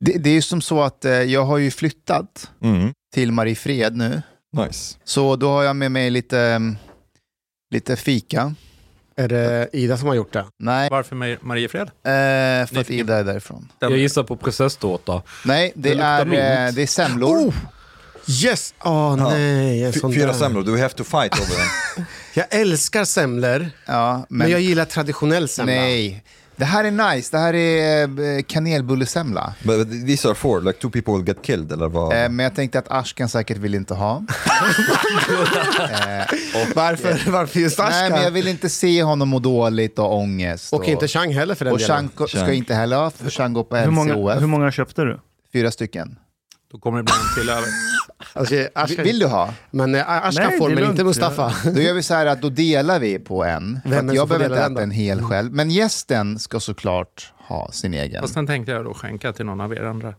Det, det är ju som så att eh, jag har ju flyttat Mm. till Mariefred nu. Nice. Så då har jag med mig lite, ehm, lite fika. Är det Ida som har gjort det? Nej, Varför Mar- Mariefred? eh, för att Nyfiken. Ida är därifrån. Den- Jag gissar på prinsesstårta. Nej, det, Det luktar är, eh, mint. det är semlor. Oh! Yes! Åh nej, jag är Fy- sån Fyra där. semlor, du have to fight over them. Jag älskar semlor, men, Ja, men, jag gillar traditionell semla. nej. Det här är nice. Det här är eh, kanelbullesemla. But these are four, like two people will get killed eller vad? Ehm, Eh, men jag tänkte att Ashkan säkert vill inte ha. Eh, Varför, varför just eh, Nej, men jag Ashkan? vill inte se honom må dåligt och ångest. Och inte Chang heller för den Och delen. Chang ska Chang. inte heller ha, för Chang går på Hur många, LCOF. hur många köpte du? Fyra stycken. Då kommer det bli en till över. Alltså, Vill, Ashkan. vill du ha? Men eh, Ashkan Nej, får, det är men lugnt. inte Mustafa. Då gör vi så här att då delar vi på en. För Vem är att det jag som får behöver dela inte äta den då? Mm. en hel själv. Men gästen ska såklart ha sin egen. Och sen tänkte jag då skänka till någon av er andra.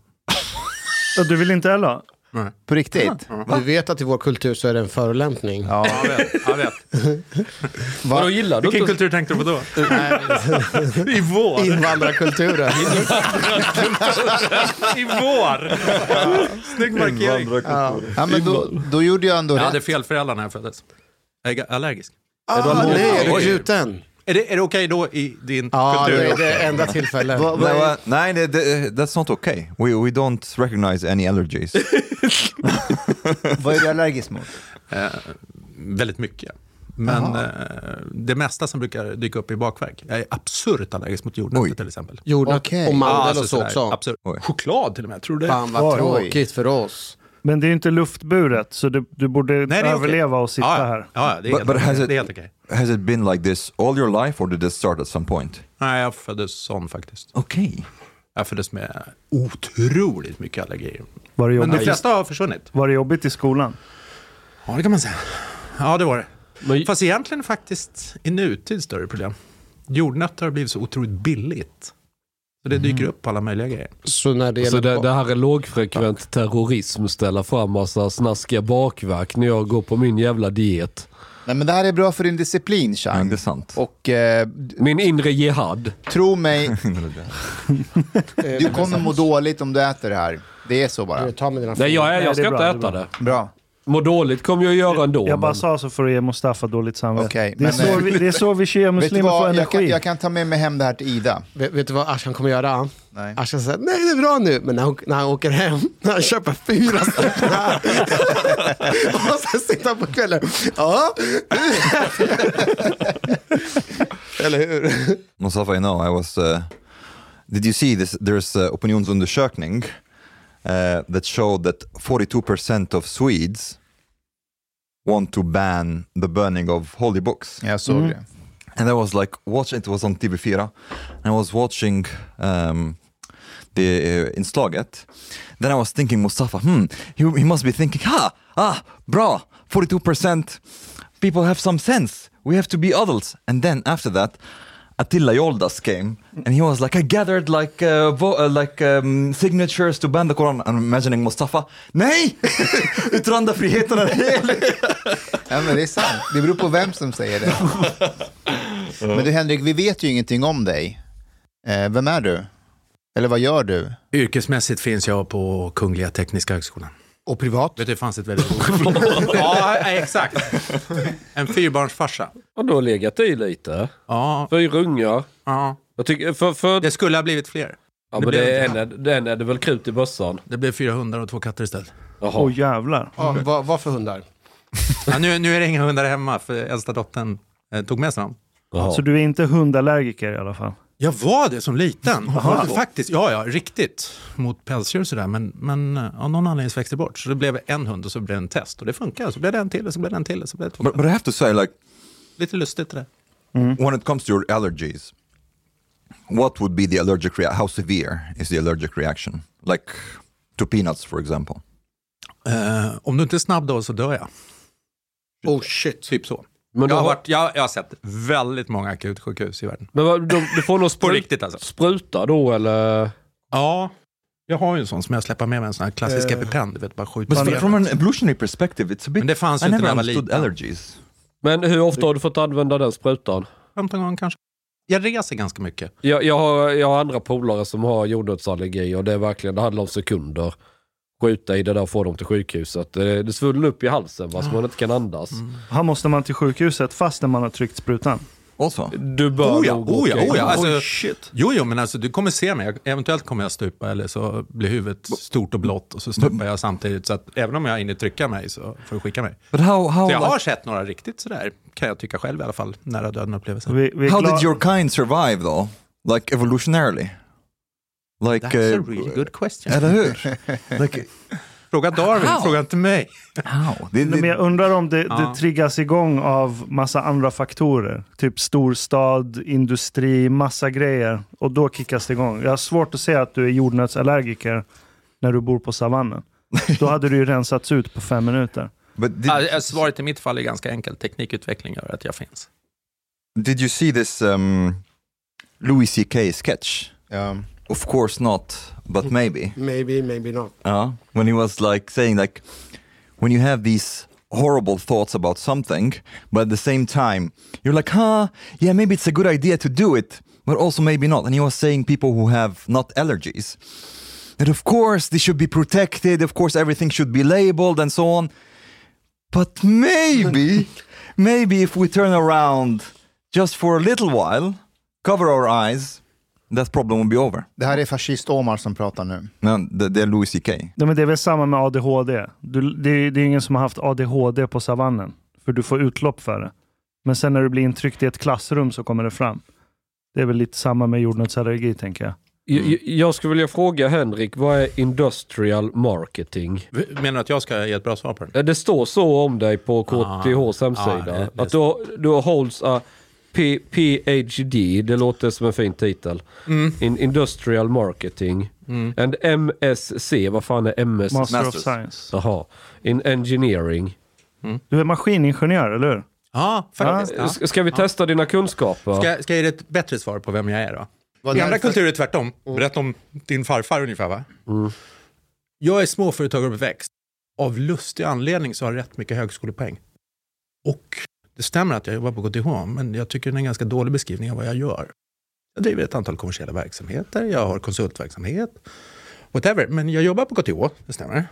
Ja, Du vill inte heller? ha? På riktigt? Du vet att i vår kultur så är det en förolämpning. Ja, jag vet. Jag vet. Vadå gillar du Vilken inte? kultur tänkte du på då? I vår. Invandrarkulturen. I vår. Snygg markering. Ja, men då, då gjorde jag ändå Jag rätt. hade fel föräldrar när jag föddes. Jag är allergisk. ah, nej, är Oj. du gluten? Är det, är det okej då i din Ja, kultur? det är det enda tillfället. Vad- vad Nej, är- va? nej det, det, that's not okay. We, we don't recognize any allergies. Vad är du allergisk mot? Eh, väldigt mycket. Men eh, det mesta som brukar dyka upp i bakverk. Jag är absurt allergisk mot jordnötter Oj. till exempel. Jordnöt Okej. och mandel alltså och så sådär, också. Absurt. Oj. Choklad till och med, tror du det? Fan vad Oj. tråkigt för oss. Men det är ju inte luftburet, så du, du borde Nej, det är okej. överleva och sitta ja, ja. här. Ja, ja, det är But- helt but has okej. it- Det är helt okej. Has it been like this all your life or did it start at some point? Nej, jag föddes sån faktiskt. Okay. Jag föddes med otroligt mycket allergier. Var det Men de jobbigt, flesta har försvunnit. var det jobbigt i skolan? Ja, det kan man säga. Ja, det var det. Men- Fast egentligen faktiskt i nutid större problem. Jordnötter har blivit så otroligt billigt. Så det dyker upp på alla möjliga grejer. Så när det Så gäller... Alltså, det, det här är lågfrekvent terrorism, ställa fram massa snaskiga bakverk när jag går på min jävla diet. Nej, men det här är bra för din disciplin, Mm, Chang. det är sant. Och eh, Min inre jihad. tro mig, eh, du kommer må dåligt om du äter det här. Det är så bara. Ta med dina Nej, jag, är, Nej, jag det är ska bra, det inte är äta bra. det. Bra. Må dåligt kommer jag göra ändå. Jag bara men- sa så för att ge Mustafa dåligt samvete. Okej, det, är men, så eh, vi, det är så vi shia Vet du muslimer får vad, jag kan, energi. jag kan ta med mig hem det här till Ida. Vet, vet du vad Ashkan kommer göra? Nej. Ashkan säger nej det är bra nu, men när han, när han åker hem, när han köper fyra stycken här. och sen sitter han på kvällen, ja. Eller hur? Mustafa, you know, I was... Uh, did you see this? There's uh, opinionsundersökning uh, that showed that 42% of Swedes want to ban the burning of holy books. Jag såg Mm. det. And I was like, watch it was on TV4, and I was watching um, the uh, inslaget. Then I was thinking, Mustafa, hmm, he, he must be thinking, ha, ah, bra, 42% people have some sense. We have to be adults. And then after that, Attila Yoldas came, and he was like, I gathered like uh, vo- uh, like um, signatures to ban the Quran. I'm imagining Mustafa, nej, yttrandefriheten är helig. Ja, men det är sant. Det beror på vem som säger det. Men du Henrik, vi vet ju ingenting om dig. Eh, vem är du? Eller vad gör du? Yrkesmässigt finns jag på Kungliga Tekniska Högskolan. Och privat. Vet du, det fanns ett väldigt... ja, exakt. En fyrbarnsfarsa. Och då har legat i lite. Ja, Fyra ungar. ja. Jag tycker, för, för, Det skulle ha blivit fler. ja, det men blev det är inte. en, den är det väl krut i bössan. Det blev fyra hundar och två katter istället. Jaha. Åh jävlar. Ja, vad, vad för hundar? Ja, nu, nu är det inga hundar hemma, för äldsta dottern eh, tog med sig dem. Jaha. Så du är inte hundallergiker i alla fall? Jag var det som liten. Faktiskt, ja, ja, riktigt. Mot pälsdjur och sådär. Men, men eh, av någon anledning så växte det bort. Så det blev en hund och så blev det en test. Och det funkar. Så blev det en till och så blev det en till. Och så blev det två. But, but I have to say, like, Lite lustigt det där. when it comes to your allergies, what would be the allergic reaction? How severe is the allergic reaction? Like to peanuts, for example. Eh, om du inte är snabb då så dör jag. Oh shit. Typ så. Men, Jag då, har, har- varit, jag, jag har sett väldigt många akutsjukhus i världen. men vad- de, du får nog På sprut, riktigt alltså. spruta då eller? Ja, jag har ju en sån som jag släpper med mig. En sån här klassisk EpiPen. Du vet, bara skjuter But ner from den. an evolutionary perspective, it's a bit. Men det fanns ju I inte never när jag var understood liten. allergies. Men hur ofta har du fått använda den sprutan? 15 gånger kanske. jag reser ganska mycket. Jag, jag, har, jag har andra polare som har jordnötsallergi och det är verkligen, det handlar om sekunder. Skjuta i det där och få dem till sjukhuset. Det, det svullnar upp i halsen va, så man inte kan andas. Här måste man till sjukhuset fastän man har tryckt sprutan. Also. Du bör Oh ja, nog oh ja, åka in. oh ja. Alltså, Oj, shit. Jo, jo, men alltså, du kommer se mig. Jag- Eventuellt kommer jag stupa eller så blir huvudet stort och blått och så stupar jag samtidigt. Så att även om jag hinner trycka mig så får du skicka mig. But how, how, Så jag har like, sett några riktigt sådär, kan jag tycka själv i alla fall, nära döden-upplevelser. Vi, vi är how glada- did your kind survive though? Like evolutionarily? Like... That's eh, a really good question. Eller hur? like, Fråga Darwin, How? fråga inte mig. how? Det, Nej, det, Men jag undrar om det, Ja. det triggas igång av massa andra faktorer. Typ storstad, industri, massa grejer. Och då kickas det igång. Jag har svårt att säga att du är jordnötsallergiker när du bor på savannen. Då hade du ju rensats ut på fem minuter. but did, Ah, Svaret i mitt fall är ganska enkelt. Teknikutveckling gör att jag finns. did you see this um, Louis CK sketch? Ja. Of course not, but maybe. Maybe, maybe not. Uh, when he was like saying like, when you have these horrible thoughts about something, but at the same time you're like, huh, yeah, maybe it's a good idea to do it, but also maybe not. And he was saying people who have not allergies that of course they should be protected, of course everything should be labeled and so on, but maybe, maybe if we turn around just for a little while, cover our eyes, that problem will be over. Det här är fascist-Omar som pratar nu. No, the, the Louis C.K. Nej, men det är väl samma med ADHD. Du, det, är- det är ingen som har haft ADHD på savannen. För du får utlopp för det. Men sen när du blir intryckt i ett klassrum så kommer det fram. Det är väl lite samma med jordnötsallergi tänker jag. Jag, jag- jag skulle vilja fråga Henrik, vad är industrial marketing? Menar du att jag ska ge ett bra svar på den? Eh, Det står så om dig på KTHs ja, hemsida. det- det- att du, har- du holds a P- PhD, det låter som en fin titel. In industrial marketing. And MSC, vad fan är MSC? Master Masters. of Science. Jaha. In engineering. Du är maskiningenjör, eller hur? Ja, faktiskt. Ja. S- Ska vi testa dina kunskaper? Ska, ska jag ge dig ett bättre svar på Mm. vem jag är då? Vad I andra därför- kulturer är det tvärtom. Berätta om din farfar ungefär va? Mm. Jag är småföretagaruppväxt. Av lustig anledning så har jag rätt mycket högskolepoäng. Och det stämmer att jag jobbar på KTH, men jag tycker det är en ganska dålig beskrivning av vad jag gör. Jag driver ett antal kommersiella verksamheter, jag har konsultverksamhet, whatever. Men jag jobbar på KTH, det stämmer.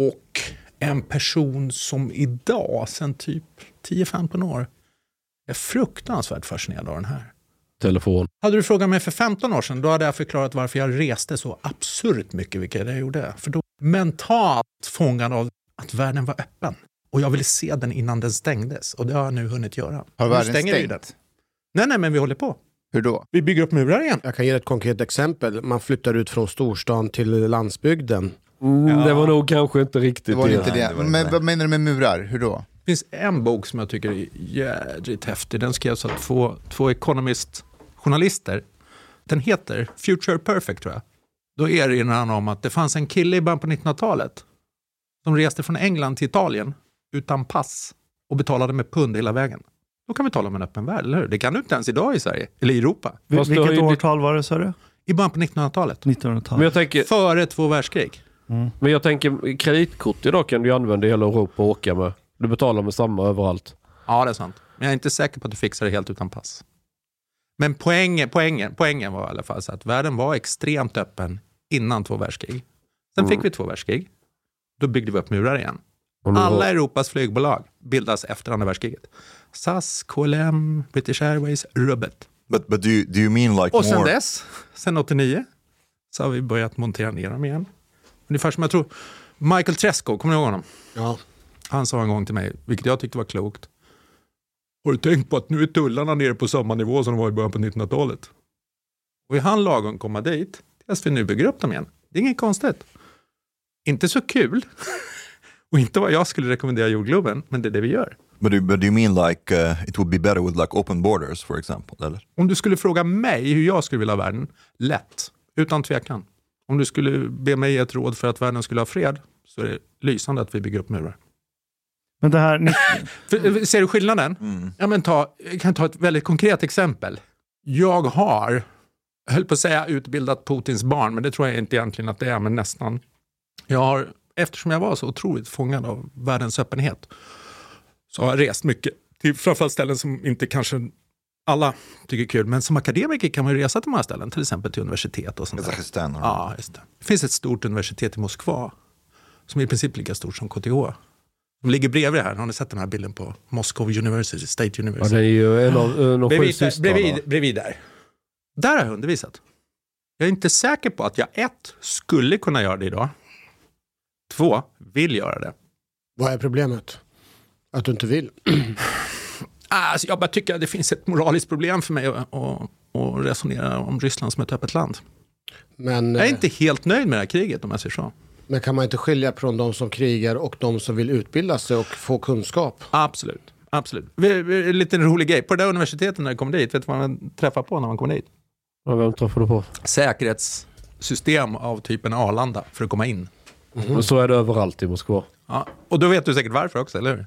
Och en person som idag, sen typ 10-15 år, är fruktansvärt fascinerad av den här. Telefon. Hade du frågat mig för 15 år sedan, då hade jag förklarat varför jag reste så absurt mycket, vilket jag gjorde. För då mentalt fångad av att världen var öppen. Och jag ville se den innan den stängdes. Och det har jag nu hunnit göra. Har Nu världen stänger vi stängt? den. Nej, nej, men vi håller på. Hur då? Vi bygger upp murar igen. Jag kan ge ett konkret exempel. Man flyttar ut från storstan till landsbygden. Mm, Det var nog kanske inte riktigt Det var inte nej, det. det var det Men inte. vad menar du med murar? Hur då? Det finns en bok som jag tycker är jädrigt häftig. Den skrevs av två, två Economist-journalister. Den heter Future Perfect, tror jag. Då erinrar han om att det fanns en kille i början på 1900-talet som reste från England till Italien utan pass och betalade med pund hela vägen. Då kan vi tala om en öppen värld, eller hur? Det kan du inte ens idag i Sverige, eller i Europa. Vil- Fast du har vilket ju ditt- årtal var det, sa du? I början på 1900-talet. Men 1900-talet. jag, tänker, Före två världskrig. men jag tänker, kreditkort idag kan du ju använda i hela Europa och åka med. Du betalar med samma överallt. Ja, det är sant. Men jag är inte säker på att du fixar det helt utan pass. Men poängen, poängen, poängen var i alla fall så att världen var extremt öppen innan två världskrig. Sen fick vi två världskrig. Då byggde vi upp murar igen. Och nu Alla har- Europas flygbolag bildas efter andra världskriget. SAS, KLM, British Airways, rubbet. But but do you, do you mean like Och sen more? dess, sen 89, så har vi börjat montera ner dem igen. Ungefär som jag tror, Michael Tresco, kommer ni ihåg honom? Ja. Han sa en gång till mig, vilket jag tyckte var klokt. Har du tänkt på att nu är tullarna nere på samma nivå som de var i början på 1900-talet? Och är han lagom komma dit, tills vi nu bygger upp dem igen. Det är inget konstigt. Inte så kul. Och inte vad jag skulle rekommendera jordgloben, men det är det vi gör. But do, but do you mean like uh, it would be better with like open borders, for example? Eller? Om du skulle fråga mig hur jag skulle vilja ha världen, lätt. Utan tvekan. Om du skulle be mig ge ett råd för att världen skulle ha fred, så är det lysande att vi bygger upp murar. Men det här, ni, För, eh, ser du skillnaden? Ja, men ta, jag kan ta ett väldigt konkret exempel. Jag har, jag höll på att säga utbildat Putins barn, men det tror jag inte egentligen att det är, men nästan. Jag har, eftersom jag var så otroligt fångad av världens öppenhet, så har jag rest mycket till framförallt ställen som inte kanske alla tycker kul, men som akademiker kan man ju resa till de här ställen, till exempel till universitet och sånt där. Kazakstan. Ja. Ja, just det. det finns ett stort universitet i Moskva som är i princip lika stort som KTH. De ligger bredvid här. Har ni sett den här bilden på Moscow University, State Ja, det är University? ju en av en av sju bredvid, där, systrarna. bredvid, bredvid där. Där har jag undervisat. Jag är inte säker på att jag ett, skulle kunna göra det idag. Två, vill göra det. Vad är problemet? Att du inte vill? Alltså, jag bara tycker att det finns ett moraliskt problem för mig att, att, att resonera om Ryssland som ett öppet land. Men, eh, Jag är inte helt nöjd med det här kriget om jag säger så. men kan man inte skilja från de som krigar och de som vill utbilda sig och få kunskap? Absolut. Absolut. Vi- vi- En liten rolig grej. På det där universitetet när jag kom dit, vet du vad man träffar på när man kommer dit? Ja, vem träffade du på? Säkerhetssystem av typen Arlanda för att komma in. Mm. Och så är det överallt i Moskva. Ja. Och då vet du säkert varför också, eller hur?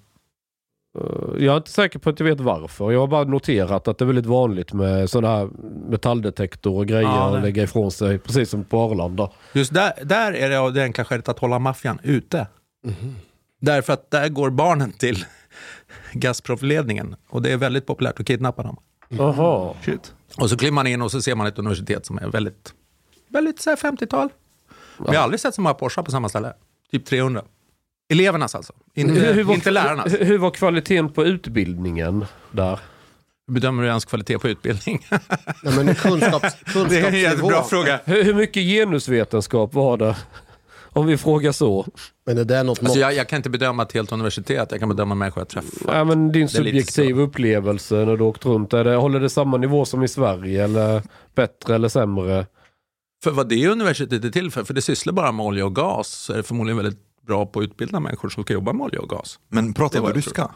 Eh, Jag är inte säker på att jag vet varför. Jag har bara noterat att det är väldigt vanligt med sådana här metalldetektor och grejer Ja, det- att lägga ifrån sig. Precis som på Arlanda. Just där, där är det av det enkla skälet att hålla maffian ute. Därför att där går barnen till Gazprom-ledningen och det är väldigt populärt att kidnappa dem. Jaha. Shit. Och så kliver man in och så ser man ett universitet som är väldigt, väldigt så här 50-tal. Men jag har aldrig sett så många Porsche på samma ställe. Typ 300. Elevernas alltså, inte, inte lärarnas. Hur, hur var kvaliteten på utbildningen där? Hur bedömer du ens kvalitet på utbildning? Nej, men kunskaps, Det är en kunskapsnivå. jättebra fråga. Hur, hur mycket genusvetenskap var det? Om vi frågar så. Men är det är något Alltså mått? jag, jag kan inte bedöma ett helt universitet, jag kan bedöma människor jag träffar. Ja, men din Det är lite subjektiva upplevelse när du åkt runt. Är det, håller det samma nivå som i Sverige? Eller bättre eller sämre? För vad det universitetet är till för, för det sysslar bara med olja och gas, så är det förmodligen väldigt bra på att utbilda människor som ska jobba med olja och gas. Men pratar Det var du jag tror. ryska?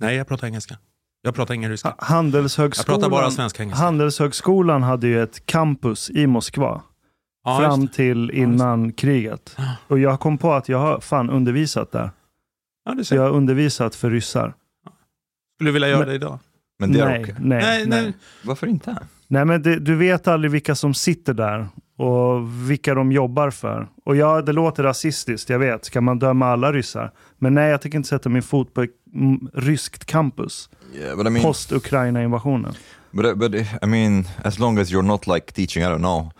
Nej, jag pratar engelska. Jag pratar ingen ryska. Jag Handelshögskolan, pratar bara svenska och engelska. Handelshögskolan hade ju ett campus i Moskva Ja, just fram det. till innan kriget. Och jag kom på att jag har fan undervisat där. ja, du Så ser. jag har undervisat för ryssar. Skulle du vilja göra Men- det idag? Men det är nej, okej. nej, nej, nej. Varför inte? men det, du vet aldrig vilka som sitter där och vilka de jobbar för. Och ja, det låter rasistiskt, jag vet. Ska man döma alla ryssar? Men nej, jag tänker inte sätta min fot på ett mm, ryskt campus. Yeah, but I mean, Post-Ukraina-invasionen. but, but I mean, as long as you're not like teaching, I don't know,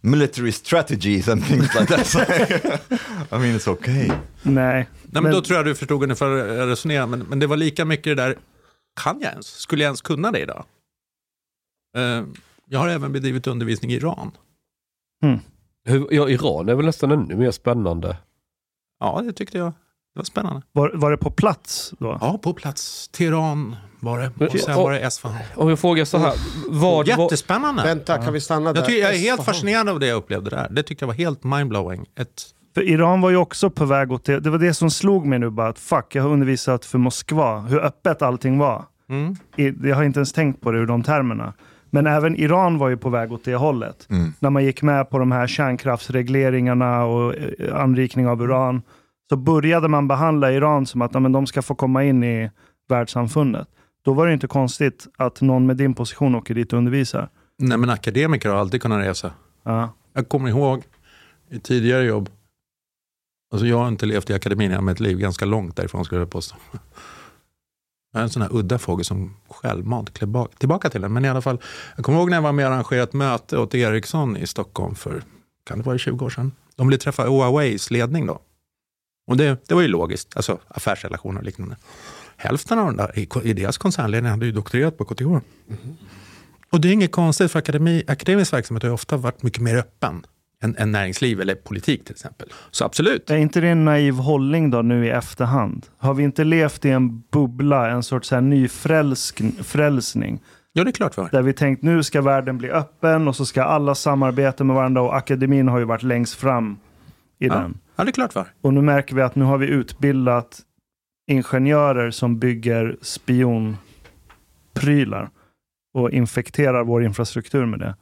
military strategies and things like that. I mean, it's okay. Nej. Nej, men, Men- då tror jag du förstod ungefär hur jag resonerar. Men, men det var lika mycket det där, kan jag ens? Skulle jag ens kunna det idag? Eh, jag har även bedrivit undervisning i Iran. Hur, ja, Iran är väl nästan ännu mer spännande. Ja, det tyckte jag. Det var spännande. Var, var det på plats då? Ja, på plats. Teheran var det. Men- Och sen och- var det Esfahan. Om jag frågar så här. Vad, vad, Jättespännande. Vänta, kan vi stanna där? Jag, tycker, jag är helt Esfahan. fascinerad av det jag upplevde där. Det tyckte jag var helt mindblowing. Ett, För Iran var ju också på väg åt det. Det var det som slog mig nu bara att fuck, jag har undervisat för Moskva. Hur öppet allting var. mm. I- Jag har inte ens tänkt på det ur de termerna. Men även Iran var ju på väg åt det hållet. Mm. När man gick med på de här kärnkraftsregleringarna och eh, anrikning av uran så började man behandla Iran som att ja, men de ska få komma in i världssamfundet. Då var det ju inte konstigt att någon med din position åker dit och undervisar. Nej, men akademiker har alltid kunnat resa. Ja. Jag kommer ihåg i tidigare jobb, alltså jag har inte levt i akademin hela mitt liv, ganska långt därifrån skulle jag påstå. Jag är en sån här udda fågel som självmant klär bak- tillbaka till den. Men i alla fall, jag kommer ihåg när jag var med och arrangerade ett möte åt Ericsson i Stockholm för, kan det vara 20 år sedan? De ville träffa Huaweis ledning då. Och det, det var ju logiskt, alltså affärsrelationer och liknande. Hälften av de där i, i deras koncernledning hade ju doktorerat på KTH. Och det är inget konstigt, för akademi, akademisk verksamhet har ju ofta varit mycket mer öppen än, än näringsliv eller politik till exempel. Så absolut. Är inte det en naiv hållning då nu i efterhand? Har vi inte levt i en bubbla, en sorts så här nyfrälsning? Ja, det är klart vi har. Där vi tänkt nu ska världen bli öppen och så ska alla samarbeta med varandra och akademin har ju varit längst fram i Ja. den. Ja, det är klart vi har. Och nu märker vi att nu har vi utbildat ingenjörer som bygger spionprylar och infekterar vår infrastruktur med det.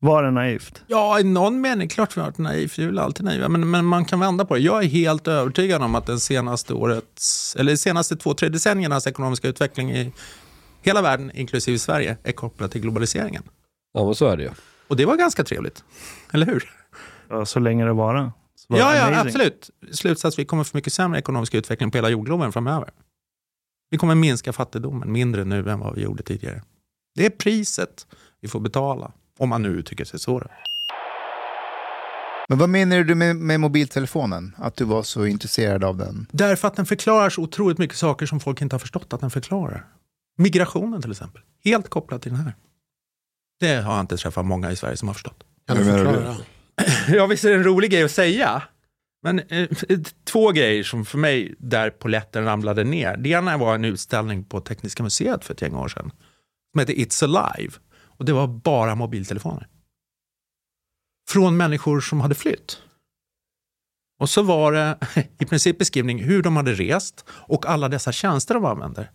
Var det naivt? Ja, i någon mening klart vi har varit naiv. Vi är väl alltid naiva. Men, men man kan vända på det. Jag är helt övertygad om att den senaste årets, eller de senaste två, tre decenniernas ekonomiska utveckling i hela världen, inklusive Sverige, är kopplad till globaliseringen. ja, men så är det ju. Och det var ganska trevligt. Eller hur? Ja, så länge det vara. Så var det ja, ja, amazing. absolut. Slutsats, vi kommer få mycket sämre ekonomisk utveckling på hela jordgloben framöver. Vi kommer minska fattigdomen mindre nu än vad vi gjorde tidigare. Det är priset vi får betala, om man nu uttrycker sig så. Då. Men vad menar du med, med mobiltelefonen? Att du var så intresserad av den? Därför att den förklarar så otroligt mycket saker som folk inte har förstått att den förklarar. Migrationen till exempel, helt kopplad till den här. Det har jag inte träffat många i Sverige som har förstått. Kan du Hur menar du? förklara? Ja, visst är det en rolig grej att säga. Men eh, två grejer som för mig där poletten ramlade ner. Det ena var en utställning på Tekniska museet för ett gäng år sedan. Som hette It's Alive. Och det var bara mobiltelefoner. Från människor som hade flytt. Och så var det i princip beskrivning hur de hade rest och alla dessa tjänster de använder.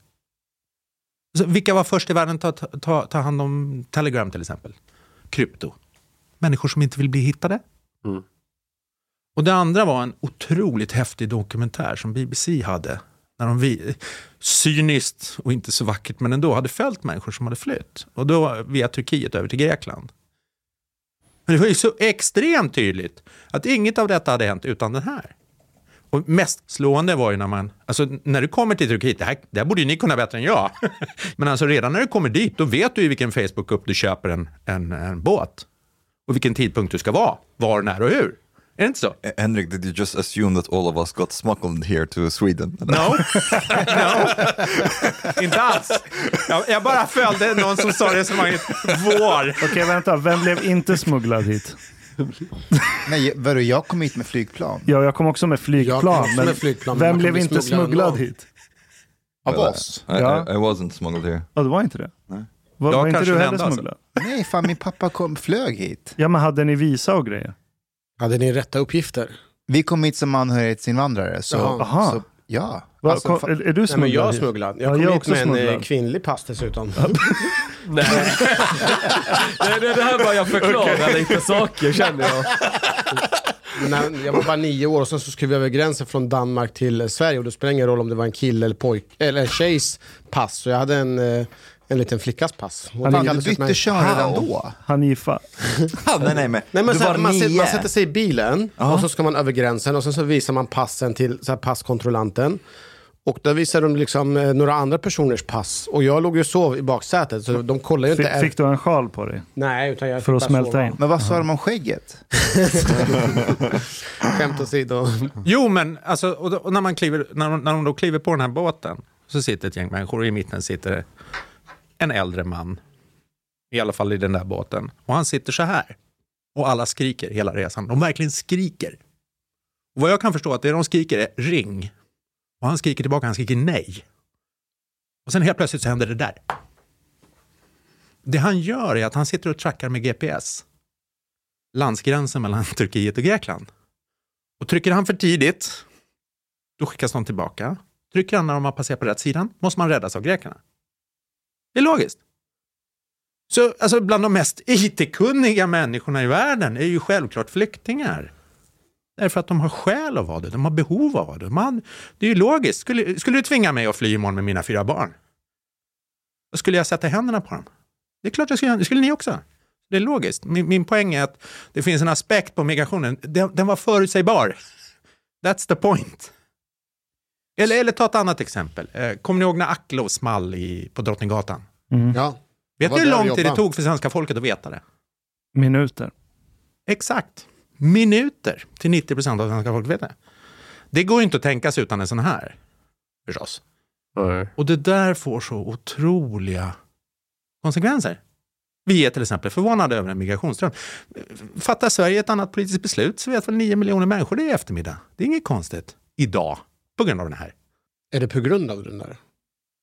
Så vilka var först i världen att ta, ta, ta hand om Telegram till exempel? Krypto. Människor som inte vill bli hittade. Och det andra var en otroligt häftig dokumentär som BBC hade. När de vi, cyniskt och inte så vackert, men ändå hade följt människor som hade flytt. Och då via Turkiet över till Grekland. Men det var ju så extremt tydligt att inget av detta hade hänt utan den här. Och mest slående var ju när man, alltså när du kommer till Turkiet, det här, det här borde ju ni kunna bättre än jag. Men alltså redan när du kommer dit, då vet du ju vilken Facebook-grupp du köper en, en, en båt. Och vilken tidpunkt du ska vara, var, när och hur. Är det inte så? Henrik, did you just assume that all of us got smuggled here to Sweden? No. no. Inte alls. Jag, jag bara följde någon som sa resonemanget vår. Okej, vänta. Vem blev inte smugglad hit? Nej, vadå, jag kom hit med flygplan. Ja, jag kom också med flygplan. Jag kom också men med flygplan, men vem man blev kan bli inte smugglad smugglad ändå. hit? Av Well, oss? I, Ja. I, I wasn't smuggled here. Ja, det var inte det. Nej. Var, Jag var inte kanske du den heller enda, alltså. smugglad? Nej, fan min pappa kom, flög hit. Ja, men hade ni visa och grejer? Hade ni rätta uppgifter? Vi kom hit som anhörighetsinvandrare. Så, Jaha. Aha. så ja. Va, Alltså, kom, fa- är, är du Nej, smugglad men jag hit? smugglad. Ja, Jag kom jag hit också med en eh, smugglad. kvinnlig pass dessutom. Nej. Nej, det, det här var jag förklara lite saker känner jag. När jag var bara nio år och sen så skulle vi över gränsen från Danmark till eh, Sverige och det spelar ingen roll om det var en kille eller, pojk, eller en tjejs pass. Så jag hade en, eh, en liten flickas pass. Hon Fan, lyckades du bytte mig- kön redan då? Hanifa. nej, nej, men, Nej, men du så här, var man, nio. sätter, man sätter sig i bilen och så ska man över gränsen och sen så visar man passen till så här, passkontrollanten. Och då visar de liksom eh, några andra personers pass. Och jag låg ju och sov i baksätet så de kollar ju Fick, inte. fick du en sjal på dig Nej, utan jag för att fick bara smälta sova. in? Men vad sa de om skägget? Skämt åsido. Jo, men alltså, och då, och när, man kliver, när, de, när de då kliver på den här båten så sitter ett gäng människor och i mitten sitter en äldre man. I alla fall i den där båten. Och han sitter så här. Och alla skriker hela resan. De verkligen skriker. Och vad jag kan förstå att det de skriker är ring. Och han skriker tillbaka, han skriker nej. Och sen helt plötsligt så händer det där. Det han gör är att han sitter och trackar med GPS. Landsgränsen mellan Turkiet och Grekland. Och trycker han för tidigt, då skickas de tillbaka. Trycker han när de har passerat på rätt sidan, måste man räddas av grekerna. Det är logiskt. Så alltså, bland de mest IT-kunniga människorna i världen är ju självklart flyktingar. Därför att de har skäl att vara det, de har behov av det. Man, det är ju logiskt. Skulle, skulle du tvinga mig att fly imorgon med mina fyra barn? Då skulle jag sätta händerna på dem. Det är klart jag skulle göra, det skulle ni också. Det är logiskt. Min, min poäng är att det finns en aspekt på migrationen, den, den var förutsägbar. That's the point. Eller, eller ta ett annat exempel. Eh, Kommer ni ihåg när Aklo small i, på Drottninggatan? Ja. Vet var ni hur där och lång tid det jobbade. tog för svenska folket att veta det? Minuter. Exakt. Minuter till 90 procent av svenska folket vet det. Det går ju inte att tänka sig utan en sån här. Förstås. Och det där får så otroliga konsekvenser. Vi är till exempel förvånade över en migrationsström. Fattar Sverige ett annat politiskt beslut så vet väl 9 miljoner människor det i eftermiddag. Det är inget konstigt. Idag. På grund av den här. Är det på grund av den där?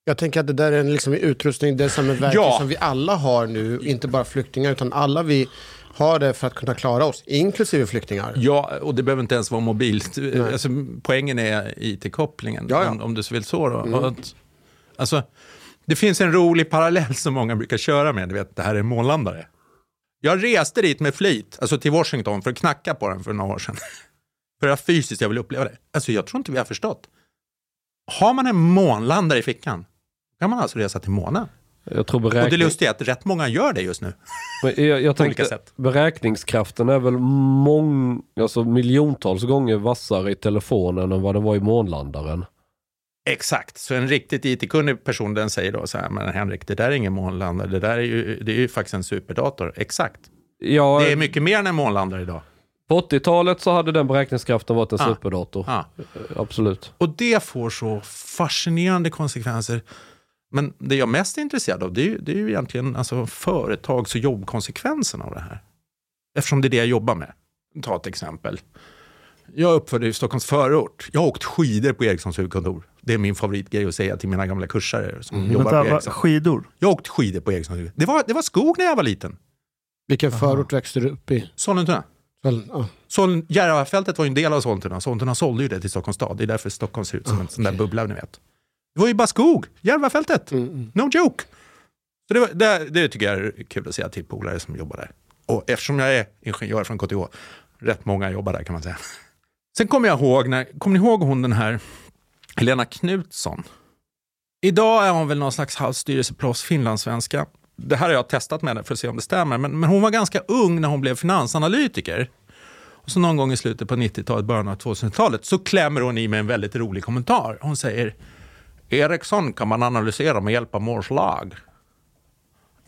Jag tänker att det där är en liksom utrustning, det är som ett verktyg Ja. som vi alla har nu, inte bara flyktingar, utan alla vi har det för att kunna klara oss, inklusive flyktingar. Ja, och det behöver inte ens vara mobilt. Alltså, poängen är it-kopplingen, Ja, Mm. ja. Om, om du så vill så. Då. Och Att, alltså, det finns en rolig parallell som många brukar köra med, du vet, det här är månlandare. Jag reste dit med flit, alltså till Washington, för att knacka på den för några år sedan. för att fysiskt jag vill uppleva det. Alltså jag tror inte vi har förstått. Har man en månlandare i fickan, kan man alltså resa till månen. Jag tror Och det beräkning, lustiga är att rätt många gör det just nu. men jag, jag olika tänkte, sätt. beräkningskraften är väl mång, alltså miljontals gånger vassare i telefonen än vad den var i månlandaren. Exakt, så en riktigt IT-kunnig person den säger då så här, men Henrik, det där är ingen månlandare, det där är ju, det är ju faktiskt en superdator. Exakt, Ja, det är mycket mer än en månlandare idag. på 80-talet så hade den beräkningskraften varit en Ah. superdator. Ja. Absolut. Och det får så fascinerande konsekvenser. Men det jag mest är intresserad av, det är ju, det är ju egentligen alltså företags och jobbkonsekvenserna av det här. Eftersom det är det jag jobbar med. Ta ett exempel. Jag är uppförd i Stockholms förort. Jag har åkt skidor på Ericssons huvudkontor. Det är min favoritgrej att säga till mina gamla kursare som jobbar på Mm. Vänta, va, Ericsson. skidor? Jag har åkt skidor på Ericssons huvud. Det var, det var skog när jag var liten. Vilken förort växte du upp i? Sollentuna. Väl, ja. Sollen- Järvafältet var ju en del av Sollentuna. Sollentuna sålde ju det till Stockholms stad. Det är därför Stockholm ser ut som en sån där bubbla, ni vet. Det var ju bara skog. Järvafältet. No joke. Så det, var, det, det tycker jag är kul att säga till polare som jobbar där. Och eftersom jag är ingenjör från KTH, rätt många jobbar där kan man säga. Sen kommer jag ihåg, när, kommer ni ihåg hon den här Helena Knutsson? Idag är hon väl någon slags halv styrelseproffs, finlandssvenska. Det här har jag testat med henne för att se om det stämmer, men, men hon var ganska ung när hon blev finansanalytiker. Och så någon gång i slutet på 90-talet, början av 2000-talet, så klämmer hon i med en väldigt rolig kommentar. Hon säger, Ericsson kan man analysera med hjälp av Moores lag.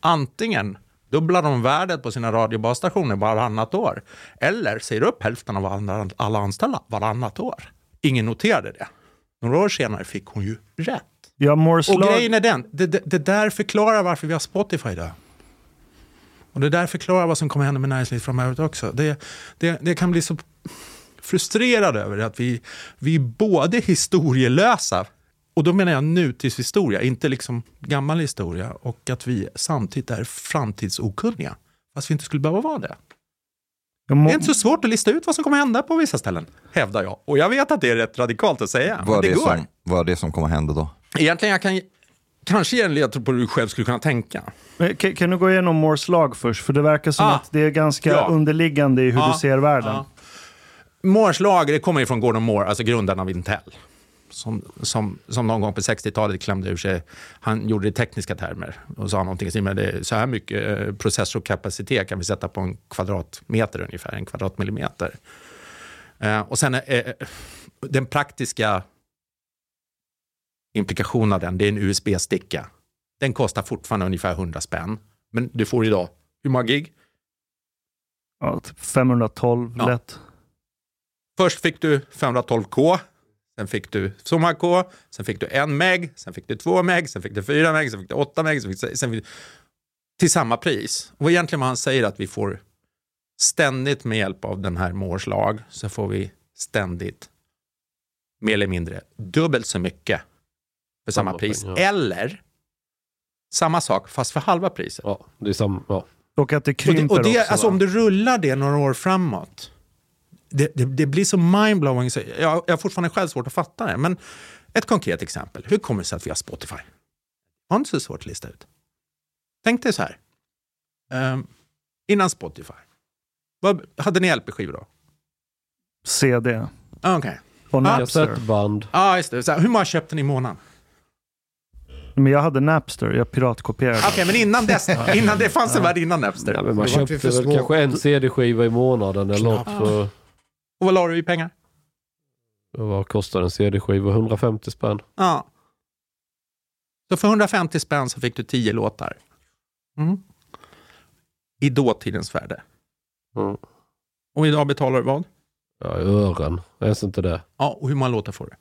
Antingen dubblar de värdet på sina radiobasstationer varannat år, eller säger upp hälften av alla- alla anställda varannat år. Ingen noterade det. Några år senare fick hon ju rätt. Ja, Morse Och lag- grejen är den, det, det, det där förklarar varför vi har Spotify idag. Och det där förklarar vad som kommer hända med näringslivet framöver också. Det, det, det kan bli så frustrerad över att vi, vi är både historielösa, och då menar jag nutidshistoria, inte liksom gammal historia, och att vi samtidigt är framtidsokunniga. Fast vi inte skulle behöva vara det. Ja, Det Mo- är inte så svårt att lista ut vad som kommer hända på vissa ställen, hävdar jag. Och jag vet att det är rätt radikalt att säga, men Vad det, är det, går. som, vad är det som kommer hända då? Egentligen jag kan kanske ge en ledtråd på hur du själv skulle kunna tänka. Men Kan, kan du gå igenom Morse lag först? För det verkar som Ah, att det är ganska ja. underliggande i hur Ah. Ja, du ser världen. ja. Moores lag, det kommer ju från Gordon Moore, alltså grundaren av Intel. Som, som, som någon gång på 60-talet klämde ur sig, han gjorde det i tekniska termer och sa någonting som det är så här mycket eh, processorkapacitet kan vi sätta på en kvadratmeter ungefär, en kvadratmillimeter. Eh, och sen eh, den praktiska implikationen av den, det är en USB-sticka. Den kostar fortfarande ungefär 100 spänn, men du får idag, hur många gig? Ja, typ 512 Ja. lätt. Först fick du 512K, sen fick du så många K, sen fick du en meg, sen fick du två meg, sen fick du fyra meg, sen fick du åtta meg, sen fick du, sen fick du, till samma pris. Och egentligen vad han säger är att vi får ständigt med hjälp av den här Moores lag så får vi ständigt mer eller mindre dubbelt så mycket för samma, Samma pris. pengar. Eller samma sak fast för halva priset. Ja, det är samma. Ja. Och att det krymper Och det, och det, också. alltså, va? om du rullar det några år framåt, det, det, det blir så mindblowing. Så jag, jag har fortfarande själv svårt att fatta det. Men ett konkret exempel. Hur kommer det sig att vi har Spotify? Det var inte så svårt att lista ut. Tänk dig så här. Ehm, innan Spotify, vad, hade ni LP-skivor då? CD. Ah, Okej. Och Napster. Kassettband. Ah, just det. Så här, hur många köpte ni i månaden? Men jag hade Napster, jag piratkopierade. Okej, men innan dess, innan det fanns en värld innan Napster. Ja, men man Då vart vi köpte för väl små. kanske en CD-skiva i månaden eller något. För, Och vad la du i pengar? vad kostar en CD-skiva? 150 spänn. Ja. Så för 150 spänn så fick du 10 låtar. Mm. I dåtidens värde. Mm. Och idag betalar du vad? Ja, i ören. Ens inte det. Ja, och hur många låtar får du?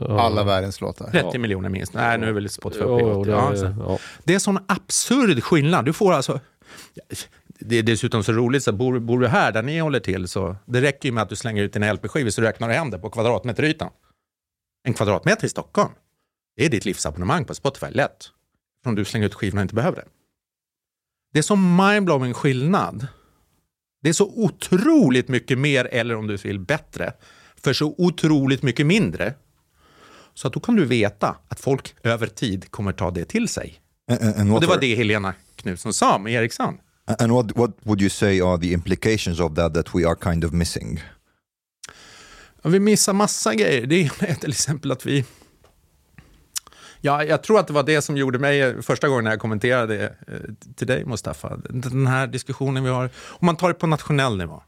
Ja. Alla världens låtar. 30 miljoner minst. Nej, nu är väl Spotify uppe i Jo, 80. det, Ja, är- så. ja. Det är sån absurd skillnad. Du får alltså... Det är dessutom så roligt, så bor, bor du här där ni håller till så det räcker ju med att du slänger ut dina LP-skivor så räknar du hem det på kvadratmeterytan. En kvadratmeter i Stockholm, det är ditt livsabonnemang på Spotify, lätt. Om du slänger ut skivorna och inte behöver det. Det är så mindblowing skillnad. Det är så otroligt mycket mer, eller om du vill bättre, för så otroligt mycket mindre. Så att då kan du veta att folk över tid kommer ta det till sig. And, and, and Och what det var are- det Helena Knutsson sa med Eriksson. and what, what would you say are the implications of that that we are kind of missing? Ja, Vi missar massa grejer. Det ena är till exempel att vi... Ja, jag tror att det var det som gjorde mig eh, första gången när jag kommenterade eh, till dig, Mustafa. Den här diskussionen vi har. Om man tar det på nationell nivå.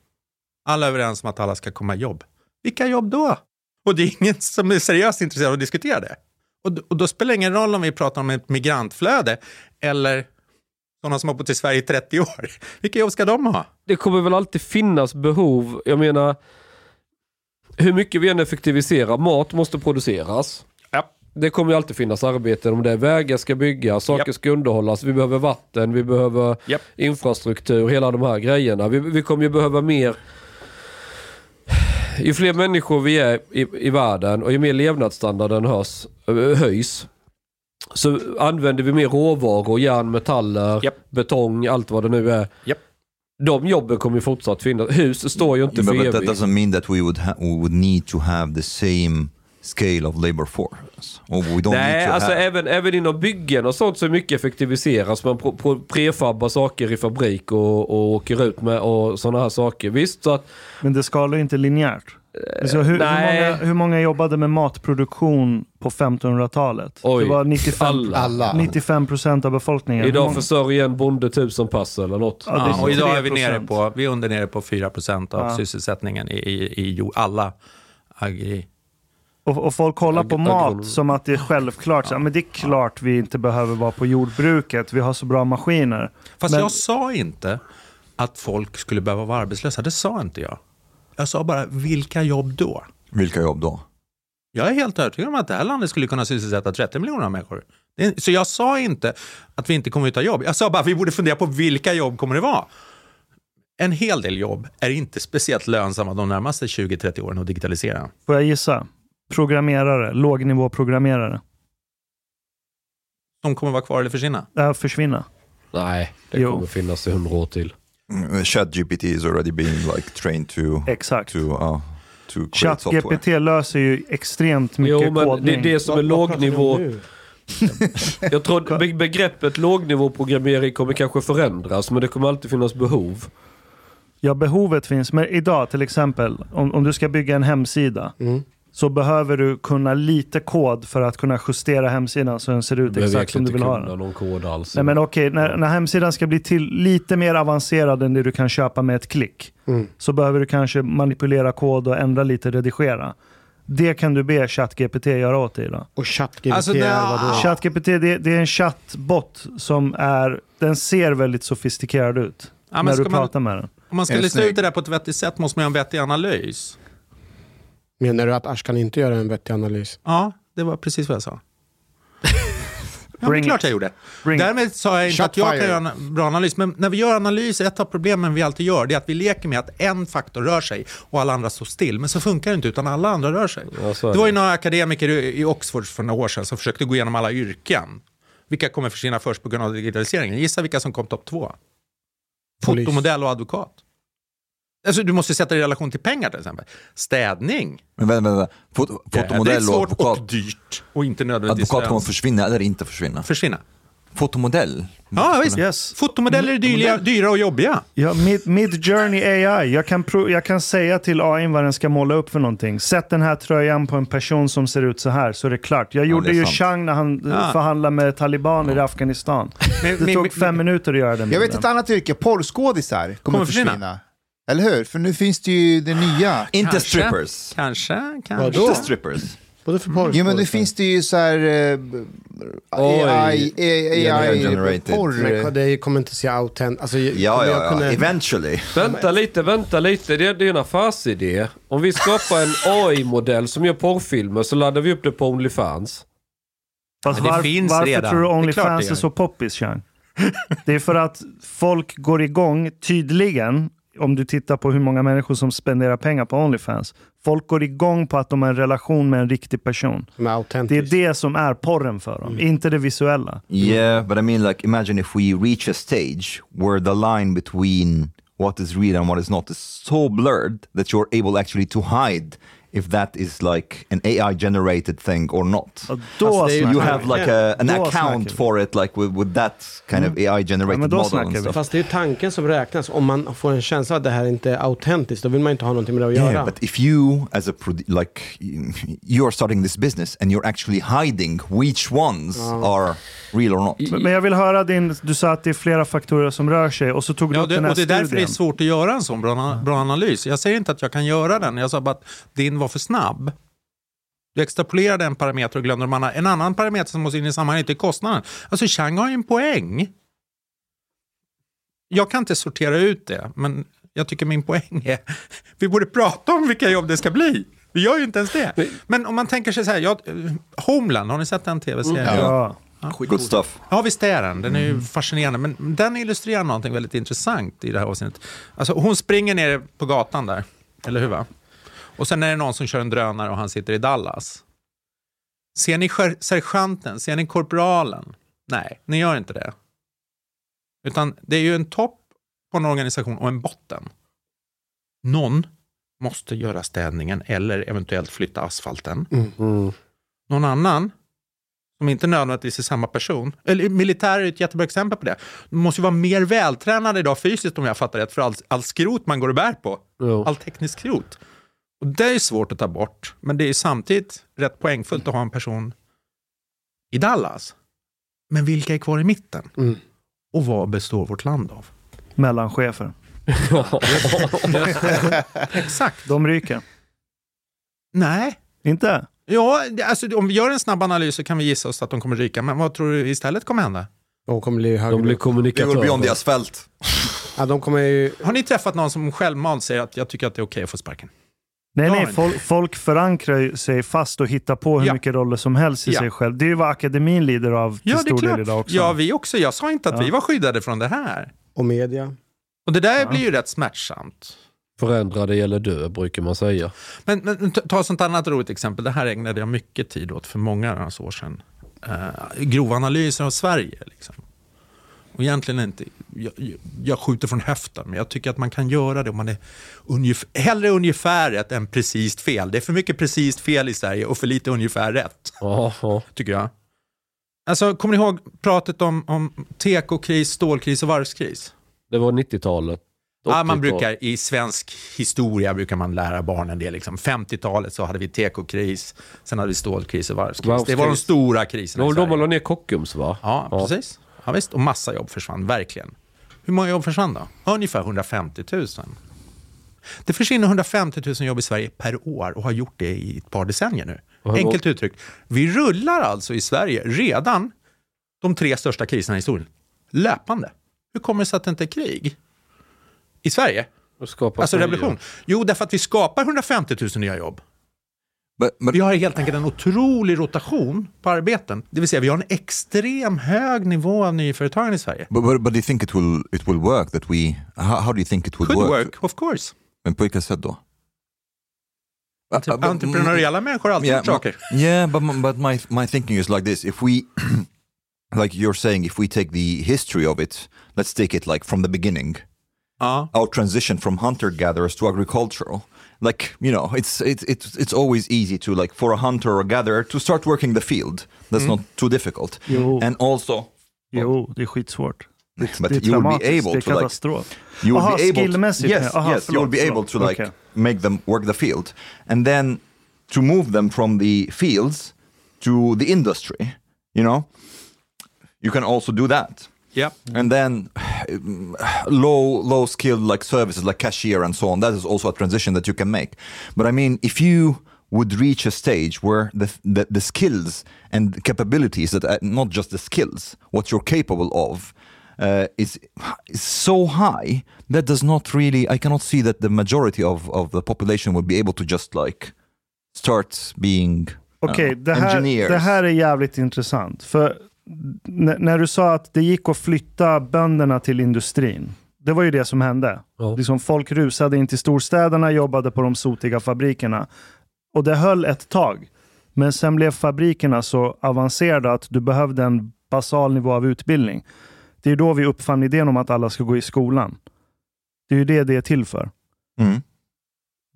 Alla är överens om att alla ska komma i jobb. Vilka jobb då? Och det är ingen som är seriöst intresserad av att diskutera det. Och, d- och då spelar det ingen roll om vi pratar om ett migrantflöde eller sådana som har bott i Sverige i 30 år. Vilka jobb ska de ha? det kommer väl alltid finnas behov. Jag menar, hur mycket vi än effektiviserar, mat måste produceras. Ja. Det kommer ju alltid finnas arbeten om det. Vägar ska byggas, saker Japp. ska underhållas, vi behöver vatten, vi behöver Japp. infrastruktur, hela de här grejerna. Vi, vi kommer ju behöva mer... Ju fler människor vi är i, i världen och ju mer levnadsstandarden hörs, ö, höjs så använder vi mer råvaror, järn, metaller, Japp. betong, allt vad det nu är. Japp. De jobben kommer ju fortsatt finnas. Hus står ju inte Yeah, för but, but that evigt. doesn't mean that we would ha- we would need to have the same scale of labor force. Or we don't need Nej, to alltså have... även, även inom byggen och sånt så är mycket effektiviseras. Man pro- pro- prefabbar saker i fabrik och, och åker ut med och sådana här saker. Visst, så att Men det skalar ju inte linjärt. Alltså, hur, hur, Eh, nej. många, hur många jobbade med matproduktion på 1500-talet? Oj, det var 95, alla. Alla. 95 procent av befolkningen. Hur idag många- försörjer en bonde tusen pass eller något. Ja, det är Ja, och idag är vi 23%. nere på, vi är under nere på 4 procent av Ja. sysselsättningen i, i, i jo- alla agri... Och, och folk kollar på Ag- agron- mat som att det är självklart. Så, här, men det är klart vi inte behöver vara på jordbruket. Vi har så bra maskiner. Fast Men- jag sa inte att folk skulle behöva vara arbetslösa. Det sa inte jag. Jag sa bara, vilka jobb då? eh- Vilka jobb då? Jag är helt övertygad om att det här landet skulle kunna sysselsätta 30 miljoner människor. Det- Så jag sa inte att vi inte kommer att ta jobb. Jag sa bara att vi borde fundera på vilka jobb kommer det vara. En hel del jobb är inte speciellt lönsamma de närmaste 20-30 åren att digitalisera. Får jag gissa? Programmerare, lågnivåprogrammerare. De kommer vara kvar eller försvinna. Äh, försvinna. Nej, det Jo. kommer finnas i hundra år till. Mm, ChatGPT is already being like trained to Exakt. to uh, to create software. ChatGPT löser ju extremt mycket Jo, men det är kodning. det som är lågnivå. Jag tror be- begreppet lågnivåprogrammering kommer kanske förändras, men det kommer alltid finnas behov. Ja, behovet finns. Men idag till exempel, om, om du ska bygga en hemsida så behöver du kunna lite kod för att kunna justera hemsidan så den ser ut behöver exakt som egentligen du vill inte ha kunna den. någon kod alls. Nej, men okej, när, när hemsidan ska bli till lite mer avancerad än det du kan köpa med ett klick så behöver du kanske manipulera kod och ändra lite, redigera. Det kan du be ChatGPT göra åt dig idag. Och ChatGPT Alltså, är nej, vadå? ChatGPT det, det är en chattbot som är, den ser väldigt sofistikerad ut Ja, men när du ska man- pratar med den. Om man ska Är det lista snyggt? ut det där på ett vettigt sätt måste man göra en vettig analys. Menar du att Ash kan inte göra en vettig analys? Ja, det var precis vad jag sa. Ja, det är Bring klart it. jag gjorde. Bring it. Därmed sa jag inte Shot att jag fire. kan göra en bra analys. Men när vi gör analyser, ett av problemen vi alltid gör, det är att vi leker med att en faktor rör sig och alla andra står still. Men så funkar det inte, utan alla andra rör sig. Ja, så är det var ju det. några akademiker i i Oxford för några år sedan som försökte gå igenom alla yrken. Vilka kommer försvinna först på grund av digitaliseringen? Gissa vilka som kom topp två? Polis. Fotomodell och advokat. Alltså, du måste sätta det i relation till pengar till exempel. Städning. Men vänta, vänta. Fot- Fotomodell och Jädrigt svårt advokat. och dyrt. Och inte Advokat nödvändigtvis kommer Mm. lönsamt. försvinna eller inte försvinna. försvinna. Fotomodell. Ja, visst. Yes. Fotomodeller är dyra, dyra och jobbiga. Ja, mid, mid Journey AI. Jag kan, pro, jag kan säga till AI vad den ska måla upp för någonting. Sätt den här tröjan på en person som ser ut så här så är det klart. Jag gjorde det är ju sant. Chang när han eh, Ja. förhandlade med talibaner i Afghanistan. Men- Det men- tog men- fem minuter att göra den Jag vet bilden. ett annat yrke, porrskådisar kommer, Kommer försvinna. försvinna. Eller hur? För nu finns det ju det nya. Inte Kanske. strippers. Kanske, kanske. Vadå? Inte strippers. Både för porr Jo men nu finns det ju så här eh, AI, AI, Generated. porr. Men det kommer inte se autent... Alltså, Ja, kommer ja, jag ja. kunna- Eventually. Vänta lite, vänta lite. Det, det är en affärsidé. Om vi skapar en AI-modell som gör porrfilmer så laddar vi upp det på Onlyfans. Fast Men det varf- finns varför redan. tror du Det är klart det Onlyfans gör. är så poppis, Chang? Det är för att folk går igång, tydligen, om du tittar på hur många människor som spenderar pengar på Onlyfans. Folk går igång på att de har en relation med en riktig person. Som är Det är autentisk. det som är porren för dem, Mm. inte det visuella. Yeah, but I mean, like, imagine if we reach a stage where the line between what is real and what is not is so blurred that you're able actually to hide if that is like an AI generated thing or not. Och då det är ju- snackar You vi. have like a, an Då account snackar vi. for it, like with, with that kind of AI Ja, men generated då model snackar and vi. stuff. Fast det är ju tanken som räknas. Om man får en känsla att det här inte är autentiskt, då vill man inte ha någonting med det att göra. Yeah, but if you, as a produ- like, you're starting this business and you're actually hiding which ones are real or not. Men- Men jag vill höra din, du sa att det är flera faktorer som rör sig och så tog du Ja, upp den det, här och det är studien. därför det är svårt att göra en sån bra, bra analys. Jag säger inte att jag kan göra den, jag sa bara att din var för snabb. Du extrapolerade en parameter och glömde de andra. En annan parameter som måste in i sammanhanget är kostnaden. Alltså Chang har ju en poäng. Jag kan inte sortera ut det, men jag tycker min poäng är vi borde prata om vilka jobb det ska bli. Vi gör ju inte ens det. Men om man tänker sig så här, jag, Homeland, har ni sett den tv-serien? Ja. Mm. Ja. Good stuff. Ja, visst är den. Den är ju fascinerande. Men den illustrerar någonting väldigt intressant i det här avsnittet. Alltså, hon springer ner på gatan där, eller hur? Va? Och sen är det någon som kör en drönare och han sitter i Dallas. Ser ni sker- sergeanten? Ser ni korpralen? Nej, ni gör inte det. Utan det är ju en topp på en organisation och en botten. Någon måste göra städningen eller eventuellt flytta asfalten. Någon annan som inte nödvändigtvis är samma person. Eller militärer är ett jättebra exempel på det. De måste ju vara mer vältränade idag fysiskt om jag fattar rätt, för all, all skrot man går och bär på. Jo. All teknisk skrot. Och det är ju svårt att ta bort, men det är ju samtidigt rätt poängfullt att ha en person i Dallas. Men vilka är kvar i mitten? Mm. Och vad består vårt land av? Mellanchefer. Exakt. De ryker. Nej. Inte? Ja, det- alltså, om vi gör en snabb analys så kan vi gissa oss att de kommer ryka, men vad tror du istället kommer hända? De kommer bli högre. De blir We will be on the kommunikatörer. asphalt. ja, de kommer ju... Har ni träffat någon som självmant säger att jag tycker att det är okej att få sparken? Nej, Ja, nej. men- Folk, folk förankrar ju sig fast och hittar på hur Ja. mycket roller som helst i Ja. sig själv. Det är ju vad akademin lider av till Ja, det är stor del idag klart. också. Ja, vi också. Jag sa inte att Ja. vi var skyddade från det här. Och media. Och det där Ja. blir ju rätt smärtsamt. Förändra det gäller dö, brukar man säga. Men, men ta ta ett sånt annat roligt exempel. Det här ägnade jag mycket tid åt för många herrans år sedan. Eh, grova analyser av Sverige. Liksom. Och egentligen inte, jag, jag- jag skjuter från höften, men jag tycker att man kan göra det om man är ungef hellre ungefär rätt än precis fel. Det är för mycket precis fel i Sverige och för lite ungefär rätt. Ja, ja. tycker jag. Alltså, kommer ni ihåg pratet om, om tekokris, stålkris och varvskris? Det var 90-talet. Ja, man 80-talet. brukar, I svensk historia brukar man lära barnen det. Liksom. 50-talet så hade vi tekokris, sen hade vi stålkris och varvskris. Det var de Varvskris. stora Det kriserna var i väl då man la Sverige. ner Kockums, va? Ja, precis. Ja, visst. Och massa jobb försvann, verkligen. Hur många jobb försvann då? Ungefär 150 000. Det försvinner 150 000 jobb i Sverige per år och har gjort det i ett par decennier nu. Vad- Enkelt uttryckt. Vi rullar alltså i Sverige redan de tre största kriserna i historien löpande. Hur kommer det sig att det inte är krig i Sverige? Och skapa Alltså nya. revolution. Jo, därför att vi skapar 150 000 nya jobb. But, but Vi har helt enkelt en otrolig rotation på arbeten. Det vill säga, vi har en extrem hög nivå av nyföretagande i Sverige. But, but, but do you think it will it will work that we how, how do you think it will Could work? work, of course. Men på vilka sätt då? Uh, Typ entreprenöriella människor har alltid mm, yeah, gjort saker. m- yeah, but m- but my my thinking is like this: if we, like you're saying, if we take the history of it, let's take it like from the beginning, Ja. our transition from hunter gatherers to agricultural. Like you know, it's it's it's it's always easy to like for a hunter or gatherer to start working the field. That's Mm-hmm. not too difficult. Jo. And also, Jo, det är skitsvårt. but Det är you will be traumatiskt. Det able är to like katastrof. you will Aha, be able to, skillmässigt. yes Aha, yes you will be förlåt, able to förlåt. like Okej. make them work the field and then to move them from the fields to the industry you know you can also do that Ja. Mm-hmm. and then low low skilled like services like cashier and so on that is also a transition that you can make but i mean if you would reach a stage where the the, the skills and capabilities that are not just the skills what you're capable of uh, is is so high that does not really i cannot see that the majority of of the population would be able to just like start being uh, Okej, det, här, engineers. det här är jävligt intressant. För n- när du sa att det gick att flytta bönderna till industrin. Det var ju det som hände. Ja. Liksom folk rusade in till storstäderna, jobbade på de sotiga fabrikerna. Och det höll ett tag. Men sen blev fabrikerna så avancerade att du behövde en basal nivå av utbildning. Det är då vi uppfann idén om att alla ska gå i skolan. Det är ju det det är till för. Mm.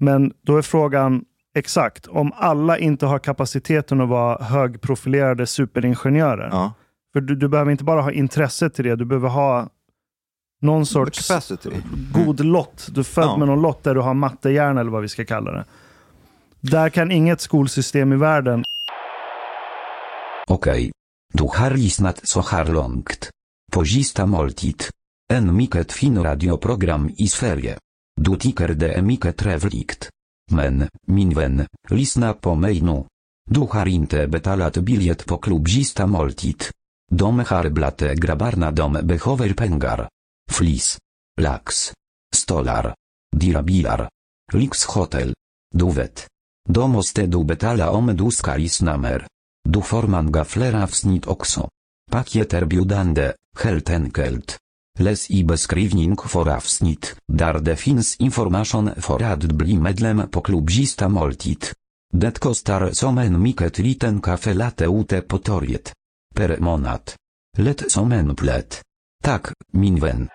Men då är frågan exakt, om alla inte har kapaciteten att vara högprofilerade superingenjörer. Ja. För du, du behöver inte bara ha intresse till det, du behöver ha någon The sorts capacity god lott. Du är född Mm. Ja. med någon lott där du har mattehjärna eller vad vi ska kalla det. Där kan inget skolsystem i världen Okej. Du haris not so har longt. Pozista moltit. En miket fino radioprogram i sferie. Du tiker de emiket revlikt. Men, minven, lisna po mejnu. Du har inte betalat biljett på klubbzista måltid. De har blate grabarna dom behöver pengar. Flis. Lax. Stolar. Dirabilar. Lix hotel. Du vet. De måste du betala om du ska namer. Du får manga flera avsnitt också. Pakiet erbjudande, helt enkelt. Les i beskrivning for avsnitt, dar det finns information for att bli medlem på klubbzista måltid. Det kostar som en mycket liten kaffe latte ute på torget. Per månad. Lätt som en plätt. Tak, min vän.